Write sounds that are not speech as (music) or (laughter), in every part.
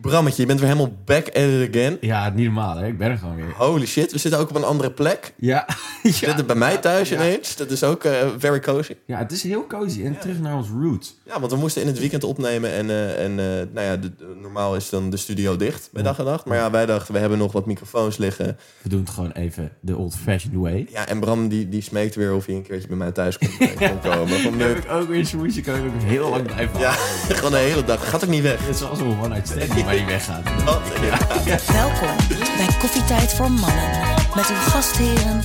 Brammetje, je bent weer helemaal back at it again. Ja, niet normaal, hè? Ik ben er gewoon weer. Holy shit, we zitten ook op een andere plek. (laughs) Ja, Dit ja. is bij mij thuis ineens. Dat is ook eh, very cozy. ja het is heel cozy. En terug naar ons roots. Ja, want we moesten in het weekend opnemen en, eh, en eh, nou ja, de- de- normaal is dan de studio dicht bij dag en nacht. Maar ja, wij dachten, we hebben nog wat microfoons liggen. We doen het gewoon even de old-fashioned way. Ja, en Bram die, die smeekt weer of hij een keertje bij mij thuis kon, (laughs) kon komen. Van, Heb leuk. ik ook weer een smoesje, kan ik ook heel lang blijven Ja, ja. (laughs) gewoon de hele dag. Gaat ook niet weg. Oh, Het is als een one-night stand waar die weggaat. Welkom bij Koffietijd voor Mannen. Met uw gastheren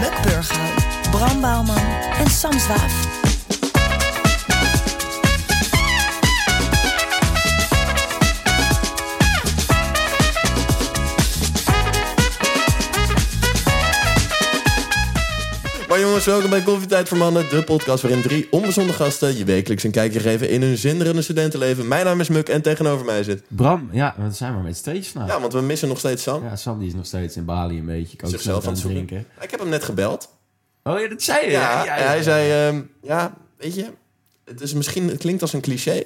Muk Burghuis, Bram Bouwman en Sam Zwaaf. Maar jongens, welkom bij Koffietijd voor Mannen, de podcast waarin drie onbezonde gasten je wekelijks een kijkje geven in hun zinderende studentenleven. Mijn naam is Muk en tegenover mij zit. Bram, ja, we zijn maar met z'n tweetjes nou. Ja, want we missen nog steeds Sam. Ja, Sam die is nog steeds in Bali een beetje. Kan ook zichzelf aan het zoeken. drinken. Ik heb hem net gebeld. Oh ja, dat zei je. Ja, Ja, ja, en ja. hij zei, ehm, ja, weet je, het is misschien, het klinkt als een cliché,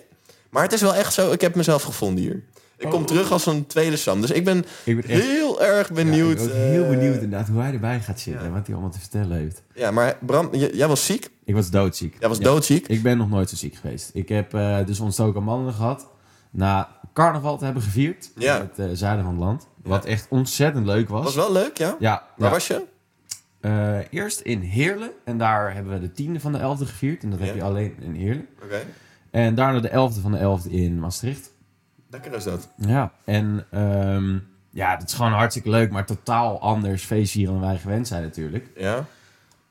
maar het is wel echt zo. Ik heb mezelf gevonden hier. Ik Oh. kom terug als een tweede Sam, dus ik ben, Ik ben echt- heel erg benieuwd. Ja, ik ben ook heel eh, benieuwd inderdaad hoe hij erbij gaat zitten. En wat hij allemaal te vertellen heeft. Ja, maar Bram, j- jij was ziek. Ik was doodziek. Jij was Ja. doodziek. Ik ben nog nooit zo ziek geweest. Ik heb eh, dus ontstoken mannen gehad. Na carnaval te hebben gevierd. Ja. In het eh, zuiden van het land. Wat echt ontzettend leuk was. Was wel leuk, ja. Ja. Waar ja. was je? Eh, eerst in Heerlen. En daar hebben we de tiende van de elfde gevierd. En dat heb Ja. je alleen in Heerlen. Oké, En daarna de elfde van de elfde in Maastricht. lekker is dat. Ja. En ehm, ja, dat is gewoon hartstikke leuk. Maar totaal anders feestvieren dan wij gewend zijn natuurlijk. Ja.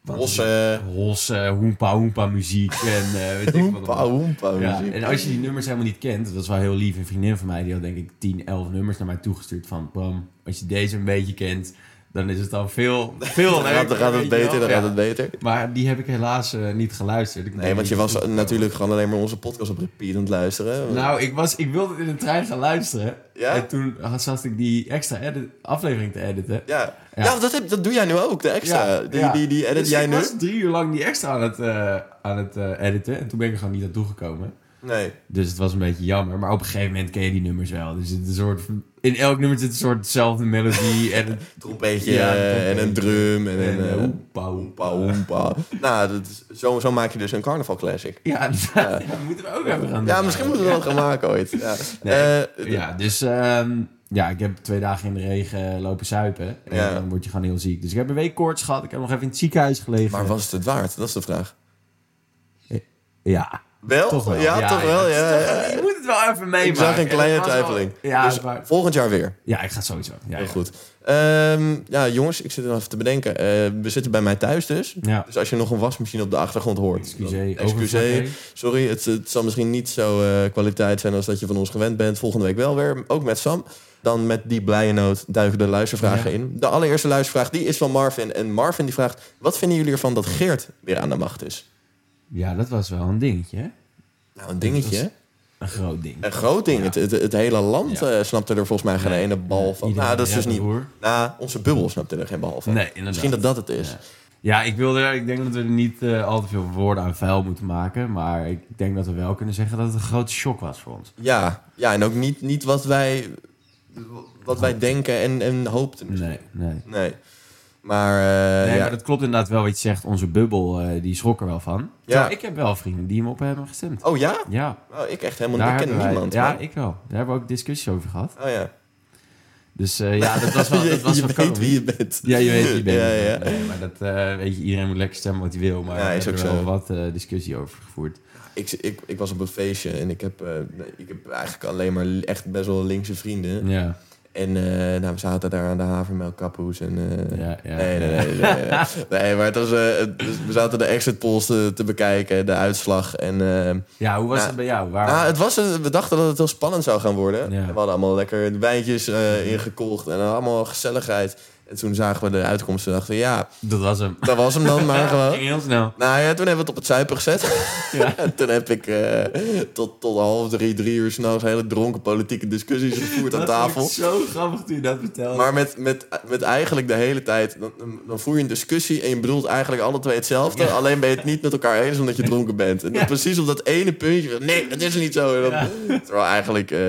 Want- Rosse. Hossen, hoempa hoempa muziek. En eh, weet ik wat Hoempa, allemaal. hoempa. Ja, muziek. en als je die nummers helemaal niet kent, dat is wel heel lief. Een vriendin van mij die had denk ik 10, 11 nummers naar mij toegestuurd van Bram, als je deze een beetje kent, dan is het al veel, (laughs) veel Dan gaat, leuker, dan gaat het weet je wel. beter, dan Ja. gaat het beter. Maar die heb ik helaas eh, niet geluisterd. Ik Nee, want je was natuurlijk gewoon alleen maar onze podcast op repeat aan het luisteren. Nou, ik, was, ik wilde het in de trein gaan luisteren. Ja? En toen had, zat ik die extra edit, aflevering te editen. ja, ja. Ja. dat, heb, dat doe jij nu ook, de extra. die, ja. Die, die edit Dus jij ik nu? was drie uur lang die extra aan het, eh, aan het eh, editen. En toen ben ik er gewoon niet aan toegekomen. Nee. Dus het was een beetje jammer. Maar op een gegeven moment ken je die nummers wel. Dus het is een soort, in elk nummer zit een soort dezelfde (laughs) melodie. en een Trompetje Ja, eh, en trompetje. een drum en, en, een... eh, eh, hoepa, hoepa. Hoempa, (laughs) hoempa. nou, dat is, zo, zo maak je dus een carnaval classic. Ja, (laughs) inderdaad. Ja, we moeten we ook even gaan doen. Ja, misschien moeten we dat gaan maken ooit. Ja. Nee. Eh, Ja, dus ehm, ja, ik heb twee dagen in de regen lopen zuipen. En Ja. dan word je gewoon heel ziek. Dus ik heb een week koorts gehad. Ik heb nog even in het ziekenhuis gelegen. maar was het het waard? Dat is de vraag. Ja. Wel? Toch wel. Ja, Ja, toch ja, wel. het is Ja, ja. Je moet het wel even meemaken. Ik zag een En kleine het was wel- twijfeling. Ja, Dus maar- volgend jaar weer. ja, ik ga het sowieso. Ja, Heel ja. goed. Ehm, ja, jongens, ik zit er nog even te bedenken. Eh, we zitten bij mij thuis dus. Ja. Dus als je nog een wasmachine op de achtergrond hoort. Excuseer, dan- excuseer. overvlakke. Sorry, het, het zal misschien niet zo eh, kwaliteit zijn als dat je van ons gewend bent. Volgende week wel weer, ook met Sam. Dan met die blije noot duiken de luistervragen Ja. in. De allereerste luistervraag, die is van Marvin. En Marvin die vraagt, wat vinden jullie ervan dat Geert weer aan de macht is? Ja, dat was wel een dingetje. hè? Nou, een dingetje. hè? Een groot ding. Een groot ding. Het, het, het hele land Ja. eh, snapte er volgens mij geen ene bal van. Iedereen Nou, dat is had dus niet... het hoor. Nou, onze bubbel snapte er geen bal van. Nee, inderdaad. Misschien dat dat het is. Ja, ik, wilde, ik denk dat we er niet eh, al te veel woorden aan vuil moeten maken. Maar ik denk dat we wel kunnen zeggen dat het een grote shock was voor ons. Ja, ja en ook niet, niet wat wij, wat wij denken en, en hoopten. misschien. Nee, nee. Nee. Maar, eh, Nee, ja. maar dat klopt inderdaad wel wat je zegt. Onze bubbel, eh, die schrok er wel van. Ja. Ja. Ik heb wel vrienden die hem op hebben gestemd. Oh ja? Ja, Oh, ik echt helemaal daar niet. Ik hebben ken wij- niemand. Ja, man. ik wel. Daar hebben we ook discussies over gehad. Oh ja. Dus eh, (laughs) ja, dat was wel... Dat was je wel weet komisch. wie je bent. Ja, je weet wie je bent. (laughs) Ja, ja. Nee, maar dat, eh, weet je, iedereen moet lekker stemmen wat hij wil. Maar Ja, daar is hebben ook we wel zo. wat eh, discussie over gevoerd. Ik, ik, ik was op een feestje en ik heb, eh, ik heb eigenlijk alleen maar echt best wel linkse vrienden. Ja. En eh, nou, we zaten daar aan de havermelkkapoes. En, eh, Ja, ja. nee, nee, nee, nee, nee, nee. (laughs) Nee, maar het was, eh, het- dus we zaten de exit polls te, te bekijken, de uitslag. En eh, Ja, hoe was Nou, het bij jou? Waar... nou, het was, een- we dachten dat het heel spannend zou gaan worden. Ah. Ja. We hadden allemaal lekker wijntjes eh ingekocht en allemaal gezelligheid. En toen zagen we de uitkomst en dachten, we, ja, Dat was hem. dat was hem (laughs) dan maar Dat gewoon. ging heel snel. Nou ja, toen hebben we het op het zuipen gezet. Ja. (laughs) En toen heb ik eh, tot, tot half drie, drie uur s'nachts hele dronken politieke discussies gevoerd aan Dat tafel. vond ik zo grappig toen je dat vertelde. Maar met, met, met eigenlijk de hele tijd, dan, dan voer je een discussie en je bedoelt eigenlijk alle twee hetzelfde. Ja. Alleen ben je het niet met elkaar eens omdat je dronken bent. En dan Ja. precies op dat ene puntje, van, nee, dat is niet zo. En dan, Terwijl eigenlijk eh,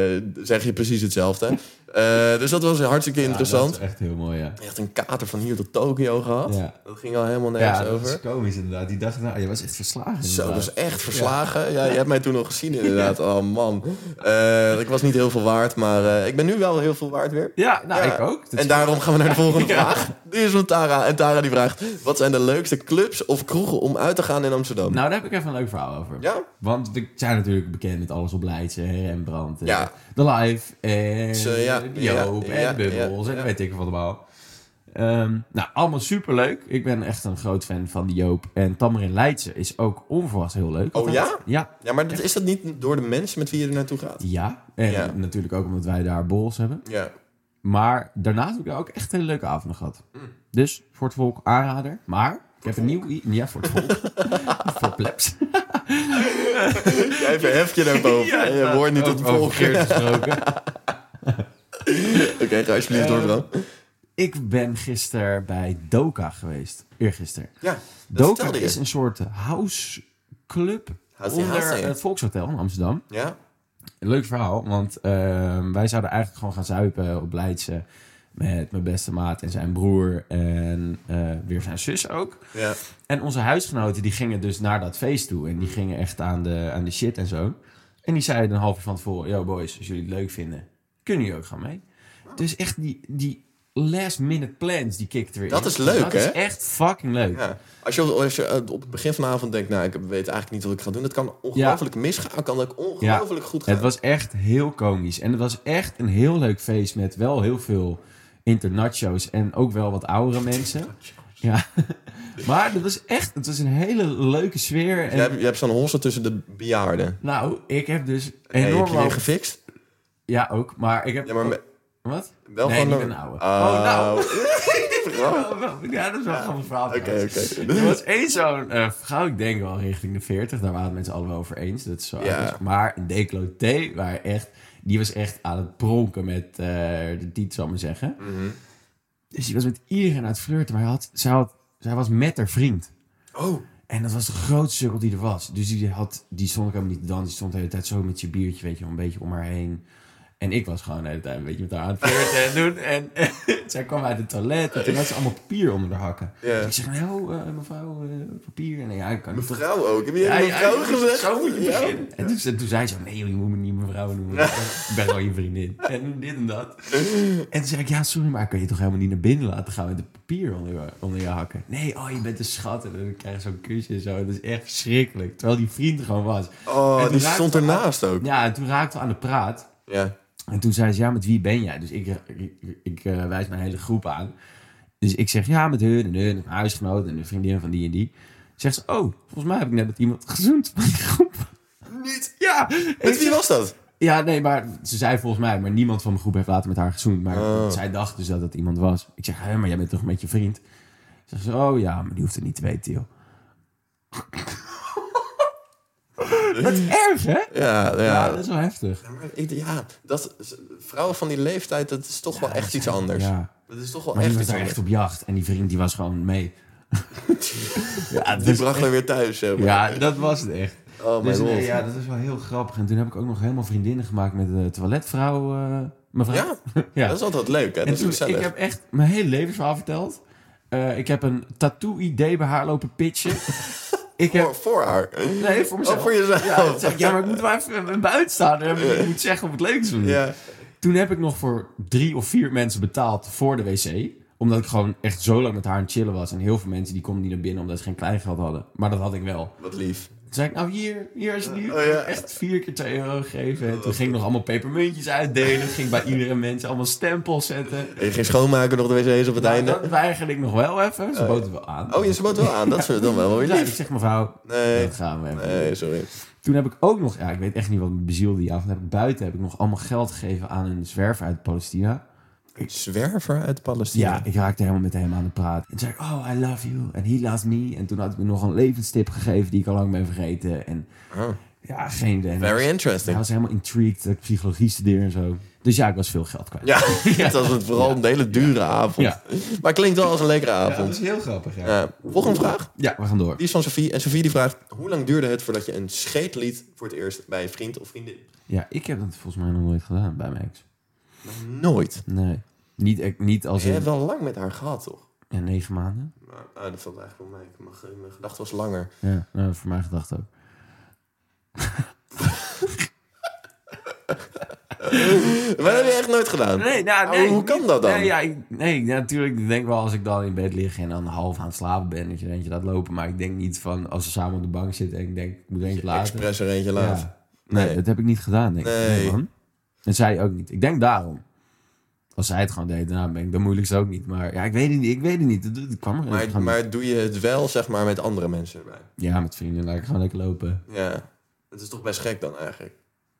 zeg je precies hetzelfde. Eh, dus dat was hartstikke Ja, interessant. dat is echt heel mooi, ja. Echt een kater van hier tot Tokio gehad. Ja. Dat ging al helemaal nergens Ja, dat over. is komisch inderdaad. Die dacht, nou, je was echt verslagen. Zo, dus- dat inderdaad. is echt verslagen. Ja. je hebt mij toen nog gezien inderdaad. Oh man. Eh, ik was niet heel veel waard, maar eh, ik ben nu wel heel veel waard weer. Ja, nou, Ja. ik ook. Dat en is- daarom gaan we naar de (laughs) volgende vraag. Die is van Tara. En Tara die vraagt... Wat zijn de leukste clubs of kroegen om uit te gaan in Amsterdam? Nou, daar heb ik even een leuk verhaal over. Ja? Want we zijn natuurlijk bekend met alles op Leidse, hè, Rembrandt, eh, Ja. de Live, en Zo, ja, Joop, ja, en ja, Bubbles, ja, en ja. weet ik wat allemaal. Ehm, nou, allemaal superleuk. Ik ben echt een groot fan van die Joop. En Tamarin Leidse is ook onverwacht heel leuk. Oh ja? Ja, Ja, maar dat, is dat niet door de mensen met wie je er naartoe gaat? ja. En Ja. natuurlijk ook omdat wij daar borrels hebben. Ja. Maar daarnaast heb ik daar ook echt hele leuke avonden gehad. Mm. Dus voor het volk aanrader. Maar ik heb een nieuw... i- Ja, voor het (laughs) volk. voor plebs. Jij verheft je (laughs) daarboven. Ja, je hoort niet tot het Over- volk. over verkeerd Oké, gesproken. (laughs) (laughs) ga alsjeblieft door, Bram. Ik ben gisteren bij Doka geweest. Eergisteren. Ja, dat Doka vertelde je. is een soort houseclub House- onder house, ja. het Volkshotel in Amsterdam. Ja? Leuk verhaal, want ehm, wij zouden eigenlijk gewoon gaan zuipen op Leidse... met mijn beste maat en zijn broer en eh, weer zijn zus ook. Ja. En onze huisgenoten die gingen dus naar dat feest toe. En die Hmm. gingen echt aan de, aan de shit en zo. En die zeiden een half uur van tevoren... Yo boys, als jullie het leuk vinden, kunnen jullie ook gaan mee. Dus echt die, die last minute plans, die kikten weer Dat in. is leuk, Dat hè? is echt fucking leuk. Ja. Als je, als je eh, op het begin van de avond denkt, nou, ik weet eigenlijk niet wat ik ga doen. Dat kan ongelooflijk misgaan, kan ook ongelooflijk goed gaan. Het was echt heel komisch. En het was echt een heel leuk feest met wel heel veel internacho's en ook wel wat oudere mensen. Ja. (laughs) maar het was echt, het was een hele leuke sfeer. je, En, hebt, je hebt zo'n hossel tussen de bejaarden. Nou, ik heb dus En heb enorm je die lang... gefixt? Ja, ook. Maar ik heb... Ja, maar me- Wat? wel Oh. nee, gewoon niet een- een oude. Oh. nou. Oh, nou. Wel, wel. (laughs) ja, dat is wel een grappig verhaal. Oké, trouwens. oké. Er was één zo'n eh vrouw, ik denk wel richting de 40. Daar waren het mensen allemaal over eens. Dat is zo Ja. anders. Maar een decolleté, waar echt, die was echt aan het pronken met eh de tiet, zal ik maar zeggen. Mhm. Dus die was met iedereen aan het flirten. Maar hij had, zij, had, zij was met haar vriend. Oh, En dat was de grootste cirkel die er was. Dus die, had, die stond ook helemaal niet te dansen. Die stond de hele tijd zo met zijn biertje, weet je, wel, een beetje om haar heen. En ik was gewoon de hele tijd een beetje met haar aan het flirten en doen. En, (laughs) zij kwam uit het toilet en toen had ze allemaal papier onder haar hakken. Ja. Dus ik zeg, nou, eh, mevrouw, eh, papier. En nee, ja, ik kan niet. vrouw ook. Heb je ja, ja, vrouw ja, gezegd? Zo moet je Ja. beginnen. En toen, en toen zei ze, nee, joh, je moet me niet mevrouw noemen. (laughs) Ik ben gewoon je vriendin. En dit en dat. En toen zei ik, ja, sorry, maar ik kan je toch helemaal niet naar binnen laten gaan met het papier onder je, onder je hakken. Nee, oh, je bent een schat. En dan krijg je zo'n kusje en zo. Dat is echt verschrikkelijk. Terwijl die vriend er gewoon was. En Oh, toen die raakten stond we aan- ernaast ook. Ja, en toen raakten we aan de praat. Ja. En toen zei ze, ja, met wie ben jij? Dus ik, ik, ik, eh, wijs mijn hele groep aan. Dus ik zeg, ja, met hun en hun, en mijn huisgenoot en de vriendin van die en die. Zegt ze, oh, volgens mij heb ik net met iemand gezoend van die groep. Niet? Ja. Ik Met wie zeg- was dat? Ja, nee, maar ze zei volgens mij, maar niemand van mijn groep heeft later met haar gezoend. Maar Oh. zij dacht dus dat dat iemand was. Ik zeg, hé, maar jij bent toch met je vriend? Zegt ze, oh ja, maar die hoeft het niet te weten, joh. (laughs) dat is erg, hè? Ja, ja. Ja, dat is wel heftig. Ja, maar ik- ja, dat, is- vrouwen van die leeftijd, dat is toch wel echt iets anders. Ja. Dat is toch wel Maar die echt was iets daar anders. echt op jacht. En die vriend die was (laughs) gewoon mee. ja, Die dus- bracht haar weer thuis, zeg maar. ja, dat was het echt. Oh my Dus, god. nee, ja, dat is wel heel grappig. En toen heb ik ook nog helemaal vriendinnen gemaakt met de toiletvrouw. eh, mevrouw. Ja? (laughs) ja. Dat is altijd leuk, hè? Dat en is toen, gezellig. ik heb echt mijn hele levensverhaal verteld. Eh, ik heb een tattoo-idee bij haar lopen (laughs) pitchen. ik heb... voor, voor haar. Nee, voor mezelf. Oh, voor jezelf. Ja, toen zei ik, ja, maar ik moet wel even buiten staan. Ik moet zeggen op het leukste manier. (laughs) Ja. Toen heb ik nog voor drie of vier mensen betaald voor de wc. Omdat ik gewoon echt zo lang met haar aan het chillen was. En heel veel mensen die konden niet naar binnen omdat ze geen kleingeld hadden. Maar dat had ik wel. Wat lief. Toen zei ik, nou hier, hier is het nu. Oh, ja. Oh, Echt vier keer 2 euro gegeven. En toen ging ik nog allemaal pepermuntjes uitdelen. ging bij iedere mensen allemaal stempels zetten. Je ging schoonmaken nog de wc's op het Nou, einde. dat weigerde ik nog wel even. Ze boten wel aan. Oh, je ze bood wel aan. Dat is dan wel weer Ja, ik lief. zeg mevrouw, Nee. dat gaan we even. Nee, sorry. Toen heb ik ook nog, ja, ik weet echt niet wat me bezielde die avond. Heb ik buiten heb ik nog allemaal geld gegeven aan een zwerver uit Palestina. Zwerver uit Palestina. Ja, ik raakte helemaal met hem aan de praat. En zei ik, oh, I love you. En he loves me. En toen had ik me nog een levenstip gegeven die ik al lang ben vergeten. En Oh, ja, geen idee. very Hij interesting. was helemaal intrigued dat ik psychologie studeer en zo. Dus ja, ik was veel geld (laughs) kwijt. Ja, het was het vooral een hele dure avond. Ja. Maar klinkt wel als een lekkere avond. is heel grappig, ja. Ja, Eh, volgende vraag. Ja, we gaan door. Die is van Sofie. En Sofie die vraagt... Hoe lang duurde het voordat je een scheet liet voor het eerst bij een vriend of vriendin? Ja, ik heb dat volgens mij nog nooit gedaan bij mijn ex. Nooit. Nee. Niet, echt- niet als Je hebt in wel lang met haar gehad, toch? ja, negen maanden. Maar, ah, dat valt eigenlijk wel mee. Ik mag- Mijn gedachte was langer. Ja, nou, voor mijn gedachten ook. Maar dat heb je echt nooit gedaan. Nee, nou, Maar nee. Oh, hoe kan dat dan? Nee, ja, ik, nee ja, natuurlijk ik denk wel als ik dan in bed lig en dan half aan het slapen ben, dat je dan dat lopen. Maar ik denk niet van als we samen op de bank zitten en ik denk, ik moet eentje laten. Express er eentje Ja. laat. Nee, Nee. dat heb ik niet gedaan, denk ik. Nee. man. En zij ook niet. Ik denk daarom. Als zij het gewoon deed, nou ben ik de moeilijkste ook niet. Maar ja, ik weet het niet. Ik weet het niet. Het, het kwam er gewoon Maar, niet. maar doe je het wel, zeg maar, met andere mensen erbij? Ja, met vrienden laat ik gewoon lekker lopen. Ja. Dat is toch best gek dan eigenlijk.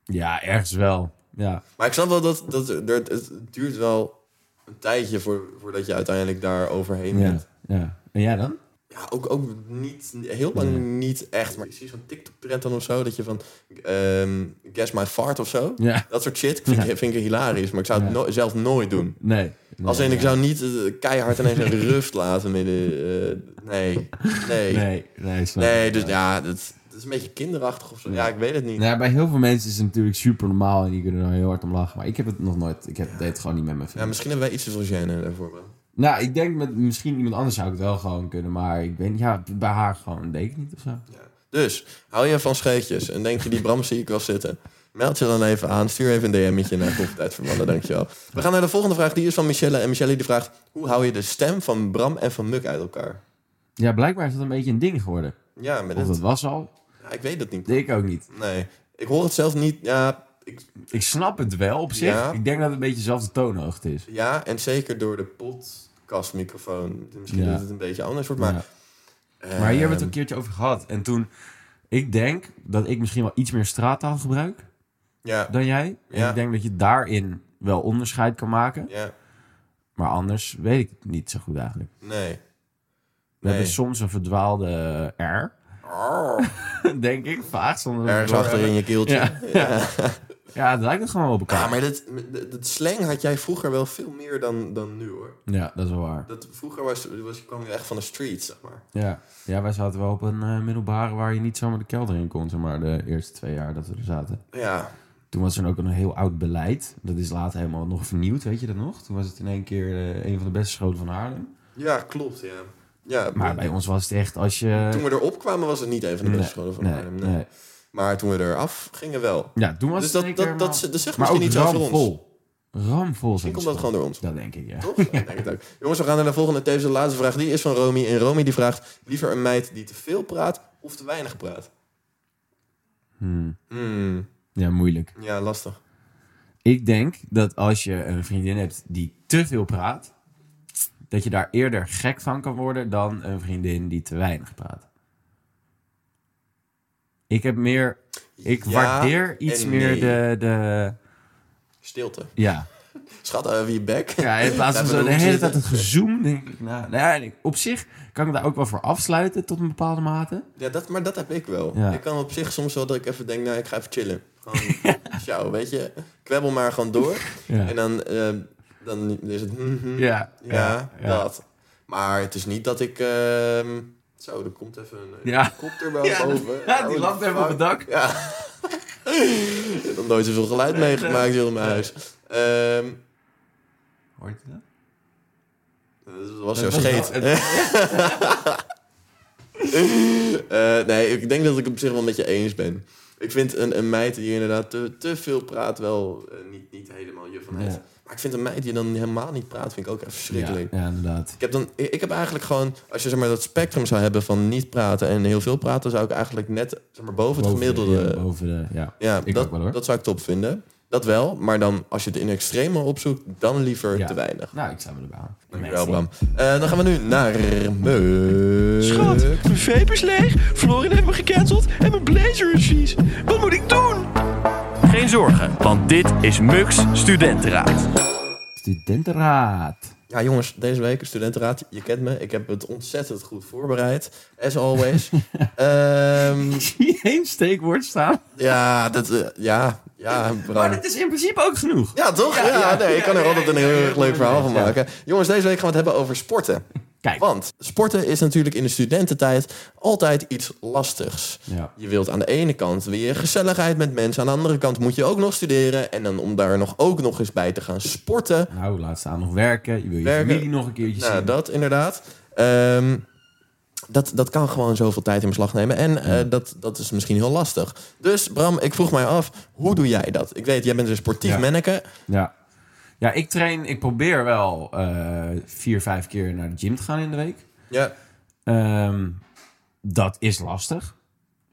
Ja, ergens wel. Ja, Maar ik snap wel dat, dat er, het, het duurt wel een tijdje voor, voordat je uiteindelijk daar overheen ja, bent. ja. En jij dan? Ja, ook, ook niet, heel lang niet echt. Maar je ziet zo'n TikTok-trend dan of zo, dat je van ehm, guess my fart of zo. Ja. Dat soort shit vind, ik, vind ik hilarisch, maar ik zou het Ja. no- zelf nooit doen. Nee. nee. Als in, ik zou niet eh, keihard ineens een rust laten midden. eh, (laughs) nee. Nee. Nee, Nee, nee, snap ik. dus ja, dat, dat is een beetje kinderachtig of zo. Ja, ik weet het niet. Nou, ja, bij heel veel mensen is het natuurlijk super normaal en die kunnen er heel hard om lachen. Maar ik heb het nog nooit. Ik heb, deed het gewoon niet met mijn Ja, vrienden. misschien hebben wij iets te veel gêne daarvoor. man. Nou, ik denk met misschien iemand anders zou ik het wel gewoon kunnen. Maar ik weet niet, ja, bij haar gewoon deed ik het niet of zo. Ja. Dus, hou je van scheetjes en denk je, die Bram zie ik wel zitten. Meld je dan even aan, stuur even een DM'tje naar Koffietijd voor Mannen, dankjewel. We gaan naar de volgende vraag, die is van Michelle. En Michelle die vraagt, hoe hou je de stem van Bram en van Muk uit elkaar? Ja, blijkbaar is dat een beetje een ding geworden. Ja, met Of dat het, was al, ja, ik weet dat niet. deed ik ook niet. Nee, ik hoor het zelf niet. Ja, ik, Ik snap het wel op zich. Ja. Ik denk dat het een beetje dezelfde toonhoogte is. ja en zeker door de podcastmicrofoon. Misschien Ja. dat het een beetje anders wordt, maar... Ja. eh, Maar hier hebben we het een keertje over gehad. En toen, ik denk dat ik misschien wel iets meer straattaal gebruik Ja, dan jij. En Ja. ik denk dat je daarin wel onderscheid kan maken. ja, Maar anders weet ik het niet zo goed eigenlijk. nee. We Nee. Oh. hebben soms een verdwaalde eh, R. (laughs) Denk ik, vaak. Zonder dat we Ergens door achter in hebben. je keeltje. (laughs) Ja. Ja, het lijkt het gewoon op elkaar. Ja, Ja, maar dat, dat, dat slang had jij vroeger wel veel meer dan, dan nu hoor. dat is wel waar. Dat, vroeger was, was, kwam je echt van de street, zeg maar. Ja. ja, wij zaten wel op een eh, middelbare waar je niet zomaar de kelder in kon. Zeg maar de eerste twee jaar dat we er zaten. Ja, Toen was er ook een heel oud beleid. Dat is later helemaal nog vernieuwd, weet je dat nog? Toen was het in één keer eh, een van de beste scholen van Haarlem. ja klopt, ja. ja Maar bij ons was het echt als je... Toen we erop kwamen was het niet een van de beste scholen van nee, Haarlem. nee. nee. Maar toen we eraf gingen wel. Ja, toen was Dus het dat, in dat, één dat, keer dat zegt maar, maar misschien ook niet zo voor ons. ramvol. Ramvol. Misschien zijn komt de dat gewoon door ons. scholen. Dat denk ik, ja. Toch? Ja, ik denk het (laughs) ook. Jongens, we gaan naar de volgende. Tevens de laatste vraag. Die is van Romy. En Romy die vraagt... Liever een meid die te veel praat of te weinig praat? Hmm. Hmm, Ja, moeilijk. ja, lastig. Ik denk dat als je een vriendin hebt die te veel praat, dat je daar eerder gek van kan worden dan een vriendin die te weinig praat. Ik heb meer. Ik Ja waardeer iets en meer nee. de, de. Stilte. Ja. Schat, eh, wie je bek. ja (laughs) in plaats van Laten we zo de erop hele zitten. tijd het gezoem, denk ik. Nou, nou ja, en ik- op zich kan ik daar ook wel voor afsluiten tot een bepaalde mate. Ja, dat, maar dat heb ik wel. Ja. Ik kan op zich soms wel dat ik even denk, nou, ik ga even chillen. Gewoon, (laughs) ciao, weet je. Kwebbel maar gewoon door. (laughs) Ja. En dan, eh, dan is het... mhm, Ja. ja, dat. Maar het is niet dat ik... ehm, zo, er komt even een Ja. helikopter wel (laughs) Ja, boven. ja, die Oh, landt even op het dak. Ja. (laughs) ik heb nog nooit zoveel geluid meegemaakt hier in mijn huis. Ehm, Hoort je dat? dat was zo Dat was scheet. wel- het- Eh, nee, ik denk dat ik het op zich wel met je eens ben. Ik vind een, een meid die inderdaad te, te veel praat wel eh, niet, niet helemaal je van heeft. Ja. Maar ik vind een meid die dan helemaal niet praat, vind ik ook echt Ja, verschrikkelijk. ja, inderdaad. Ik heb, dan, ik ik heb eigenlijk gewoon, als je zeg maar, dat spectrum zou hebben van niet praten en heel veel praten, zou ik eigenlijk net zeg maar, boven het Boven de- gemiddelde. ja, boven de, ja. Ja, Ik dat, ook wel, hoor. dat zou ik top vinden. Dat wel, maar dan als je het in extreme opzoekt, dan liever Ja. te weinig. Nou, ik sta me erbij aan. Dankjewel, Bram. Eh, dan gaan we nu naar Meuk. Schat, mijn vape is leeg, Florin heeft me gecanceld en mijn blazer is vies. Wat moet ik doen? Geen zorgen, want dit is Mux Studentenraad. Studentenraad. (laughs) Ja, jongens, deze week studentenraad. Je kent me, ik heb het ontzettend goed voorbereid. As (laughs) always. Ehm, Zie je één steekwoord staan? ja, dat, eh, ja, ja, Maar Bram. dat is in principe ook genoeg. Ja, toch? Ja, nee, ik kan er altijd een heel erg leuk verhaal van ja. maken. Jongens, deze week gaan we het hebben over sporten. Kijk. Want sporten is natuurlijk in de studententijd altijd iets lastigs. Ja. Je wilt aan de ene kant weer gezelligheid met mensen. Aan de andere kant moet je ook nog studeren. En dan om daar nog ook nog eens bij te gaan sporten. Nou, laat staan nog werken. Je wil je Werken. familie nog een keertje Nou, zien. dat inderdaad. Ehm, dat, dat kan gewoon zoveel tijd in beslag nemen. En eh, dat, dat is misschien heel lastig. Dus Bram, ik vroeg mij af, hoe doe jij dat? Ik weet, jij bent een sportief Ja. manneke. Ja. Ja, ik train, ik probeer wel eh, vier, vijf keer naar de gym te gaan in de week. Ja. Ehm, dat is lastig.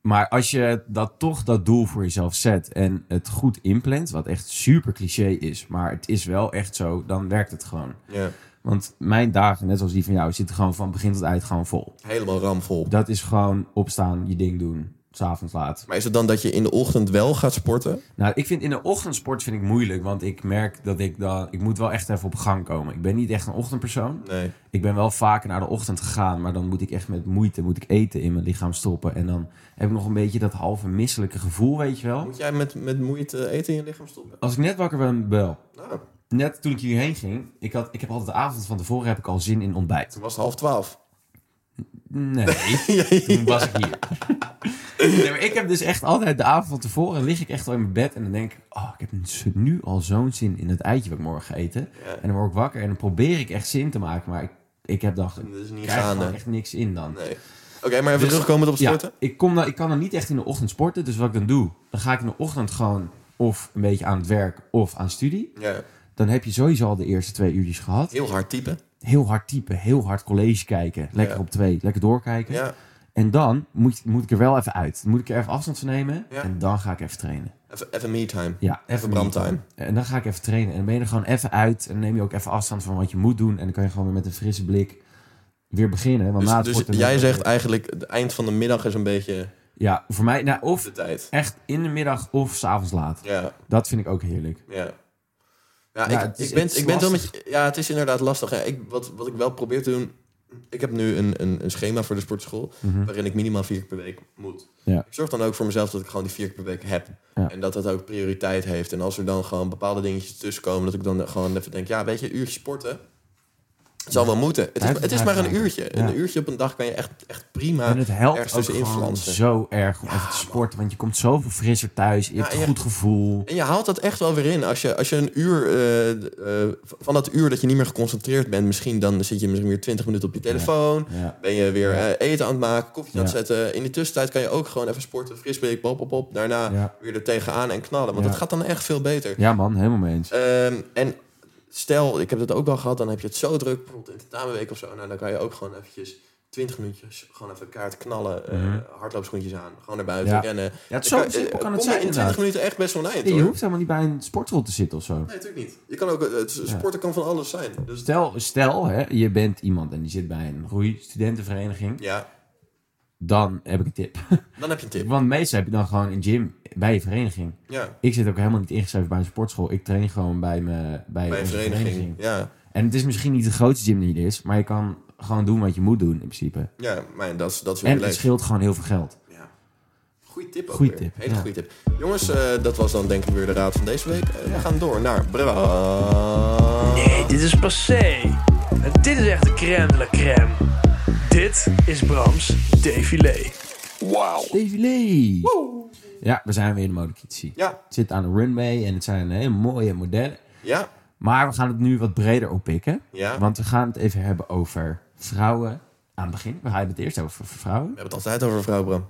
Maar als je dat toch dat doel voor jezelf zet en het goed inplant, wat echt super cliché is, maar het is wel echt zo, dan werkt het gewoon. ja. Want mijn dagen, net zoals die van jou, zitten gewoon van begin tot eind gewoon vol. Helemaal ramvol. Dat is gewoon opstaan, je ding doen, s'avonds laat. Maar is het dan dat je in de ochtend wel gaat sporten? Nou, ik vind in de ochtendsport vind ik moeilijk, want ik merk dat ik dan, ik moet wel echt even op gang komen. Ik ben niet echt een ochtendpersoon. Nee. Ik ben wel vaker naar de ochtend gegaan, maar dan moet ik echt met moeite moet ik eten in mijn lichaam stoppen. En dan heb ik nog een beetje dat halve misselijke gevoel, weet je wel. Moet jij met, met moeite eten in je lichaam stoppen? Als ik net wakker ben, wel. Nou, Net toen ik hierheen ging, ik, had, ik heb altijd de avond van tevoren heb ik al zin in ontbijt. toen was het half twaalf. (laughs) Nee, toen was ik hier. Nee, maar ik heb dus echt altijd de avond van tevoren lig ik echt al in mijn bed en dan denk ik, oh, ik heb z- nu al zo'n zin in het eitje wat ik morgen ga eten. En dan word ik wakker en dan probeer ik echt zin te maken, maar ik, ik heb dan, Dat is niet ik krijg er gaande. gewoon echt niks in dan. Nee. Oké, maar even Dus- terugkomen op Ja, sporten. ik, kom dan, ik kan dan niet echt in de ochtend sporten, dus wat ik dan doe, dan ga ik in de ochtend gewoon of een beetje aan het werk of aan studie. Ja. Dan heb je sowieso al de eerste twee uurtjes gehad. Heel hard typen. Heel hard typen, heel hard college kijken, lekker Ja. op twee, lekker doorkijken. Ja. En dan moet, moet ik er wel even uit. Dan moet ik er even afstand van nemen. Ja. En dan ga ik even trainen. Even, even me time. Ja, even brandtime. En dan ga ik even trainen. En dan ben je er gewoon even uit. En dan neem je ook even afstand van wat je moet doen. En dan kan je gewoon weer met een frisse blik weer beginnen. Want na Dus, het dus sporten- jij zegt eigenlijk, het eind van de middag is een beetje Ja, voor mij. Nou, of de tijd. echt in de middag of s'avonds laat. Ja, Dat vind ik ook heerlijk. ja. Ja, Ja, ik, het is- ik ben, het is ik ben het wel met lastig. je- Ja, het is inderdaad lastig. Ja, ik, wat, wat ik wel probeer te doen... Ik heb nu een, een, een schema voor de sportschool... Mhm. waarin ik minimaal vier keer per week moet. Ja. Ik zorg dan ook voor mezelf dat ik gewoon die vier keer per week heb. Ja. En dat dat ook prioriteit heeft. En als er dan gewoon bepaalde dingetjes tussenkomen... dat ik dan gewoon even denk... ja, weet je, een uurtje sporten... Het zal wel moeten. Het is, Blijf het is het maar een uitmaken. uurtje. Ja. Een uurtje op een dag kan je echt, echt prima En het helpt ergens ook tussenin gewoon flansen. zo erg om even te sporten. Want je komt zoveel frisser thuis. Je hebt en een je- goed gevoel. En je haalt dat echt wel weer in. Als je, als je een uur, eh, d- eh, v- van dat uur dat je niet meer geconcentreerd bent, misschien dan zit je misschien weer 20 minuten op je telefoon. Ja. Ben je weer eh, eten aan het maken, koffie aan het Ja. zetten. In de tussentijd kan je ook gewoon even sporten, fris ben ik, pop, pop, pop. Daarna Ja. weer er tegenaan en knallen. Want Ja. dat gaat dan echt veel beter. ja, man, helemaal mee eens. Ehm, en stel, ik heb dat ook wel gehad, dan heb je het zo druk, bijvoorbeeld in de tamenweek of zo. Nou, dan kan je ook gewoon eventjes 20 minuutjes gewoon even kaart knallen, eh, hardloopschoentjes aan, gewoon naar buiten Mhm. Ja. rennen. Ja, het- Dan zo simpel eh, kan kom je het zijn, in 20 inderdaad. minuten echt best wel een eind, Nee, je hoor. hoeft helemaal niet bij een sportschool te zitten of zo. Nee, natuurlijk niet. Je kan ook, het, sporten kan van alles zijn. Dus Stel, stel hè, je bent iemand en die zit bij een roeistudentenvereniging. ja, Dan heb ik een tip. (laughs) dan heb je een tip. Want meestal heb je dan gewoon een gym bij je vereniging. Ja, Ik zit ook helemaal niet ingeschreven bij een sportschool. Ik train gewoon bij, me, bij, bij een onze vereniging. Ja, En het is misschien niet de grootste gym die er is. Maar je kan gewoon doen wat je moet doen in principe. ja, maar dat is, dat is heel En het leuk. scheelt gewoon heel veel geld. Ja. Goeie tip ook Goeie weer. tip, Hele ja. goede tip. Jongens, eh, dat was dan denk ik weer de raad van deze week. Eh, We gaan door naar Bra. Nee, dit is passé. En dit is echt de crème de la crème. Dit is Brams défilé. Devilé! Ja, we zijn weer in de modekritici. Ja, Het zit aan de runway en het zijn hele mooie modellen. ja, Maar we gaan het nu wat breder oppikken. ja. Want we gaan het even hebben over vrouwen aan het begin. We gaan het eerst over v- vrouwen. We hebben het altijd over vrouw Bram.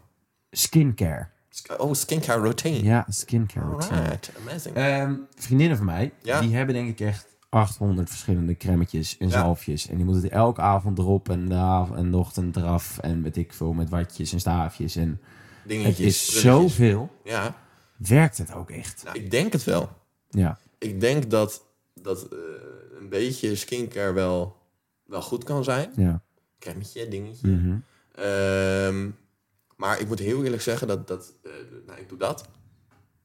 Skincare. Sk- Oh, skincare routine. Ja, skincare routine. Alright, amazing. Ehm, vriendinnen van mij, Oh. Ja. die hebben denk ik echt 800 verschillende crèmetjes en Ja. zalfjes. En die moeten het elke avond erop en de, av- en de ochtend eraf. En weet ik veel, met watjes en staafjes. En het Dingetjes. prulletjes. is zoveel. Ja, Werkt het ook echt? nou, ik denk het wel. Ja. Ik denk dat, dat eh, een beetje skincare wel, wel goed kan zijn. ja. Cremmetje, dingetje. Mhm. Ehm, maar ik moet heel eerlijk zeggen dat, dat eh, nou, ik doe dat.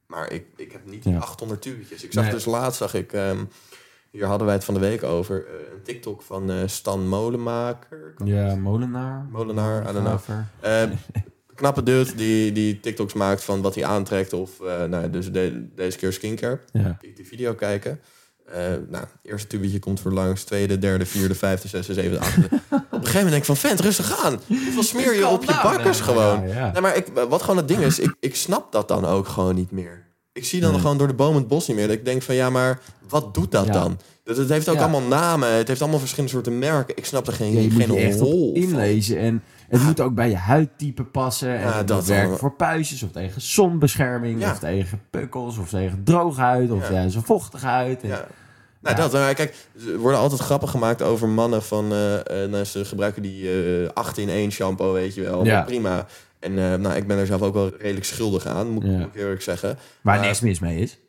Maar ik, ik heb niet die Ja. 800 tubetjes. Ik zag Nee. dus laatst, zag ik, ehm, hier hadden wij het van de week over, eh, een TikTok van eh, Stan Molenmaker. Ja, molenaar. Molenaar, I don't know. Molenaar. Eh, knappe dude die, die TikToks maakt van wat hij aantrekt of eh, nou, dus de- deze keer skincare. Ja. Ik die video kijken. Eh nou, eerste tubetje komt voor langs, tweede, derde, vierde, vijfde, zesde, zevende, (laughs) achtste. Op een gegeven moment denk ik van vent, rustig aan. Hoeveel smeer je Kalm op je down, bakkers hè? gewoon? Ja, ja. Nee, maar ik, wat gewoon het ding is, ik, ik snap dat dan ook gewoon niet meer. Ik zie dan gewoon door de bomen het bos niet meer. Dat ik denk van ja, maar wat doet dat Ja. dan? Dat, het heeft ook Ja. allemaal namen, het heeft allemaal verschillende soorten merken. Ik snap er geen, Ja, je moet geen je echt hol op van. inlezen. En het moet ook bij je huidtype passen. En Ja, het dat moet werken wel. voor puistjes of tegen zonbescherming. Ja. Of tegen pukkels of tegen droge huid. Of Ja. juist een vochtige huid. En- Ja. Nou, dat. Maar kijk, er worden altijd grappen gemaakt over mannen van... eh, eh, nou, ze gebruiken die eh 8-in-1 shampoo, weet je wel. Ja. Prima. En eh, nou, ik ben er zelf ook wel redelijk schuldig aan, moet, ik- Ja. moet ik eerlijk zeggen. Waar Maar- niks mis mee is.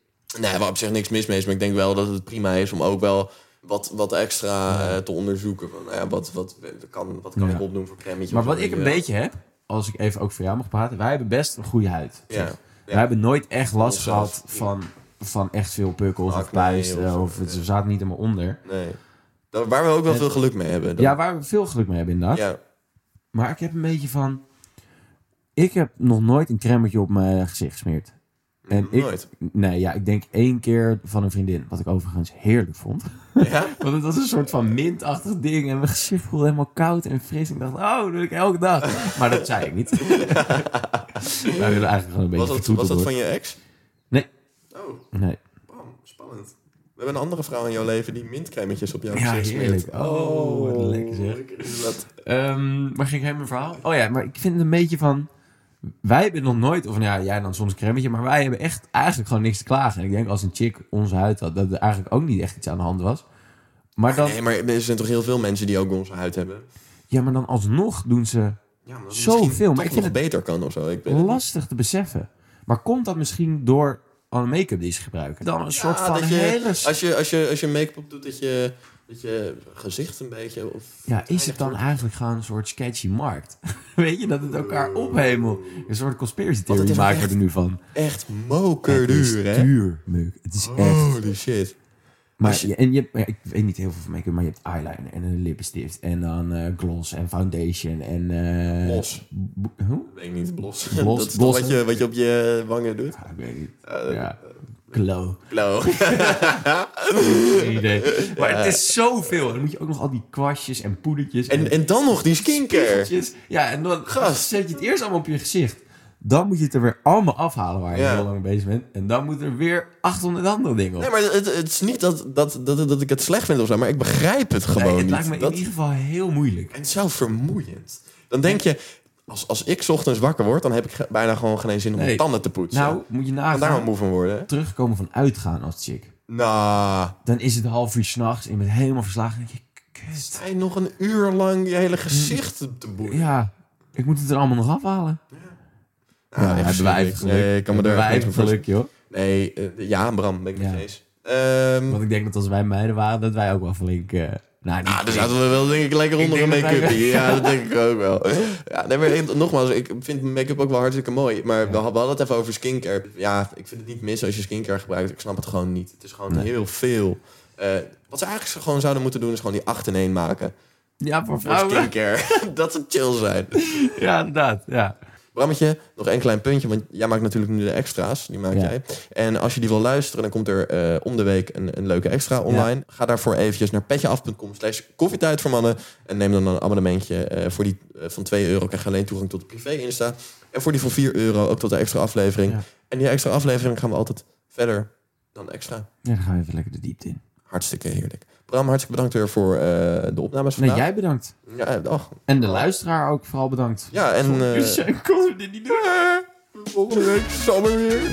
Nee, waar op zich niks mis mee is. Maar ik denk wel dat het prima is om ook wel wat, wat extra eh, te onderzoeken. Van, nou ja, wat, wat, kan, wat kan Ja. ik opdoen voor cremmetje? Maar of wat zo, ik een weet je beetje heb, als ik even ook voor jou mag praten. Wij hebben best een goede huid. wel. Ja. Wij hebben nooit echt last Onszelf. Ah, gehad van, van echt veel pukkels of Acne of puisten. zo, Of, ze zaten niet helemaal onder. Nee. Daar- Waar we ook wel En- veel geluk mee hebben. Dat- Ja, waar we veel geluk mee hebben inderdaad. ja. Maar ik heb een beetje van... Ik heb nog nooit een cremmetje op mijn gezicht gesmeerd. En ik, Nooit. Nee, ja, ik denk één keer van een vriendin. Wat ik overigens heerlijk vond. Ja? (laughs) Want het was een soort van mintachtig ding. En mijn gezicht voelde helemaal koud en fris. Ik dacht, oh, dat doe ik elke dag. Maar dat zei ik (laughs) niet. Wij willen eigenlijk gewoon een beetje Was dat, was vertroeteld dat worden. van je ex? Nee. Oh. Nee. Bam, spannend. We hebben een andere vrouw in jouw leven die mintcrèmetjes op jouw Ja, gezicht smeert. heerlijk. Oh, wat lekker zeg. lekker is dat. Ehm, maar ging ik helemaal verhaal? Oh ja, maar ik vind het een beetje van... Wij hebben nog nooit, of nou ja, jij dan soms een cremmetje, maar wij hebben echt eigenlijk gewoon niks te klagen. En ik denk als een chick onze huid had, dat er eigenlijk ook niet echt iets aan de hand was. Maar dan, Nee, maar er zijn toch heel veel mensen die ook onze huid hebben. ja, maar dan alsnog doen ze Ja, maar Zoveel, misschien maar toch ik vind nog beter kan of zo. Ik weet het niet. lastig te beseffen. Maar komt dat misschien door alle make-up die ze gebruiken? Dan een soort Ja, van Ah, dat je- hele... s- Als je, als je, als je make-up op doet, dat je, dat je gezicht een beetje... Of Ja, is het dan eigenlijk gewoon een soort sketchy markt? (laughs) Weet je, dat het elkaar ophemelt. Een soort conspiracy Want het theory is maken echt we er nu van. Echt Het is mokerduur, hè? duur, Muk. Het is echt... Holy shit. Maar Als je- je- en je, hebt- ja, ik weet niet heel veel van make-up, maar je hebt eyeliner en een lippenstift. En dan eh, gloss en foundation en... eh Blos. b- Hoe? Ik weet niet, blos. Blos, dat is toch blos, wat hè? je, wat je op je wangen doet? Ja, ik weet niet. Eh, ja. Glow. Blauw. Geen idee. Maar het is zoveel. En dan moet je ook nog al die kwastjes en poedertjes (laughs) en, en dan nog die skincare. Spiegeltjes. Ja, en dan Gast. zet je het eerst allemaal op je gezicht. Dan moet je het er weer allemaal afhalen waar je Ja. heel lang bezig bent. En dan moet er weer 800 andere dingen op. Nee, maar het, het is niet dat, dat, dat, dat ik het slecht vind of zo, maar ik begrijp het gewoon Nee, het niet. lijkt me Dat- in ieder geval heel moeilijk. En zo vermoeiend. Dan denk je, als, als ik 's ochtends wakker word, dan heb ik ge- bijna gewoon geen zin om mijn Nee. tanden te poetsen. Nou, moet je kan daar wel nagaan. moe van worden. hè? Terugkomen van uitgaan als chick. Nou, Dan is het half uur s'nachts en je bent helemaal verslagen. En denk je, kut. hij nog een uur lang je hele gezicht te- te boeien. Ja, ik moet het er allemaal nog afhalen. Ah, Ja, echt hebben wij even geluk. verschrikkelijk. Nee, ik kan me daar Hebben wij echt even niks meer geluk, joh. voor- Nee, eh, ja, Bram, ben ik niet Ja. eens. Ehm, Want ik denk dat als wij meiden waren, dat wij ook wel flink... eh nou, niet ah, dan flink. zaten we wel denk ik lekker onder een denk dat wij- make-up. Ja, dat denk ik ook wel. (laughs) Ja, nee, maar ik- nogmaals, ik vind make-up ook wel hartstikke mooi. Maar we hadden het even over skincare. Ja, ik vind het niet mis als je skincare gebruikt. Ik snap het gewoon niet. Het is gewoon heel veel. Eh, wat ze eigenlijk gewoon zouden moeten doen, is gewoon die 8 in 1 maken. Ja, Voor voor vrouwen. skincare. (laughs) dat ze chill zijn. Ja, inderdaad. Ja. Brammetje, nog één klein puntje, want jij maakt natuurlijk nu de extra's. Die maak Ja. jij. En als je die wil luisteren, dan komt er eh, om de week een, een leuke extra online. Ga daarvoor eventjes naar petjeaf.com slash koffietijd voor mannen. En neem dan een abonnementje. Eh, voor die eh, van 2 euro krijg je alleen toegang tot de privé-insta. En voor die van 4 euro ook tot de extra aflevering. Ja. En die extra aflevering gaan we altijd verder dan extra. Ja, dan gaan we even lekker de diepte in. Hartstikke heerlijk. Bram, hartstikke bedankt weer voor eh, de opnames Nee, vandaag. jij bedankt. Ja, eh, och. En de luisteraar ook vooral bedankt. ja en... eh, Dus jij kon het niet doen. Volgende week Sam er weer.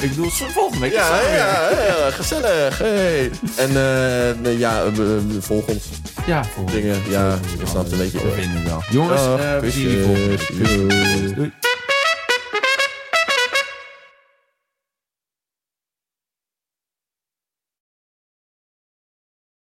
Ik bedoel, zo- volgende week is Ja, het ja, weer. ja, ja, gezellig. Hey. En eh, nee, ja, eh, eh, volg ons Ja, volgende dingen. Ja, je snapt een beetje. week vinden we wel. Jongens, Dag, eh, we zien jullie kusjes. volgende week. Doei. Doei.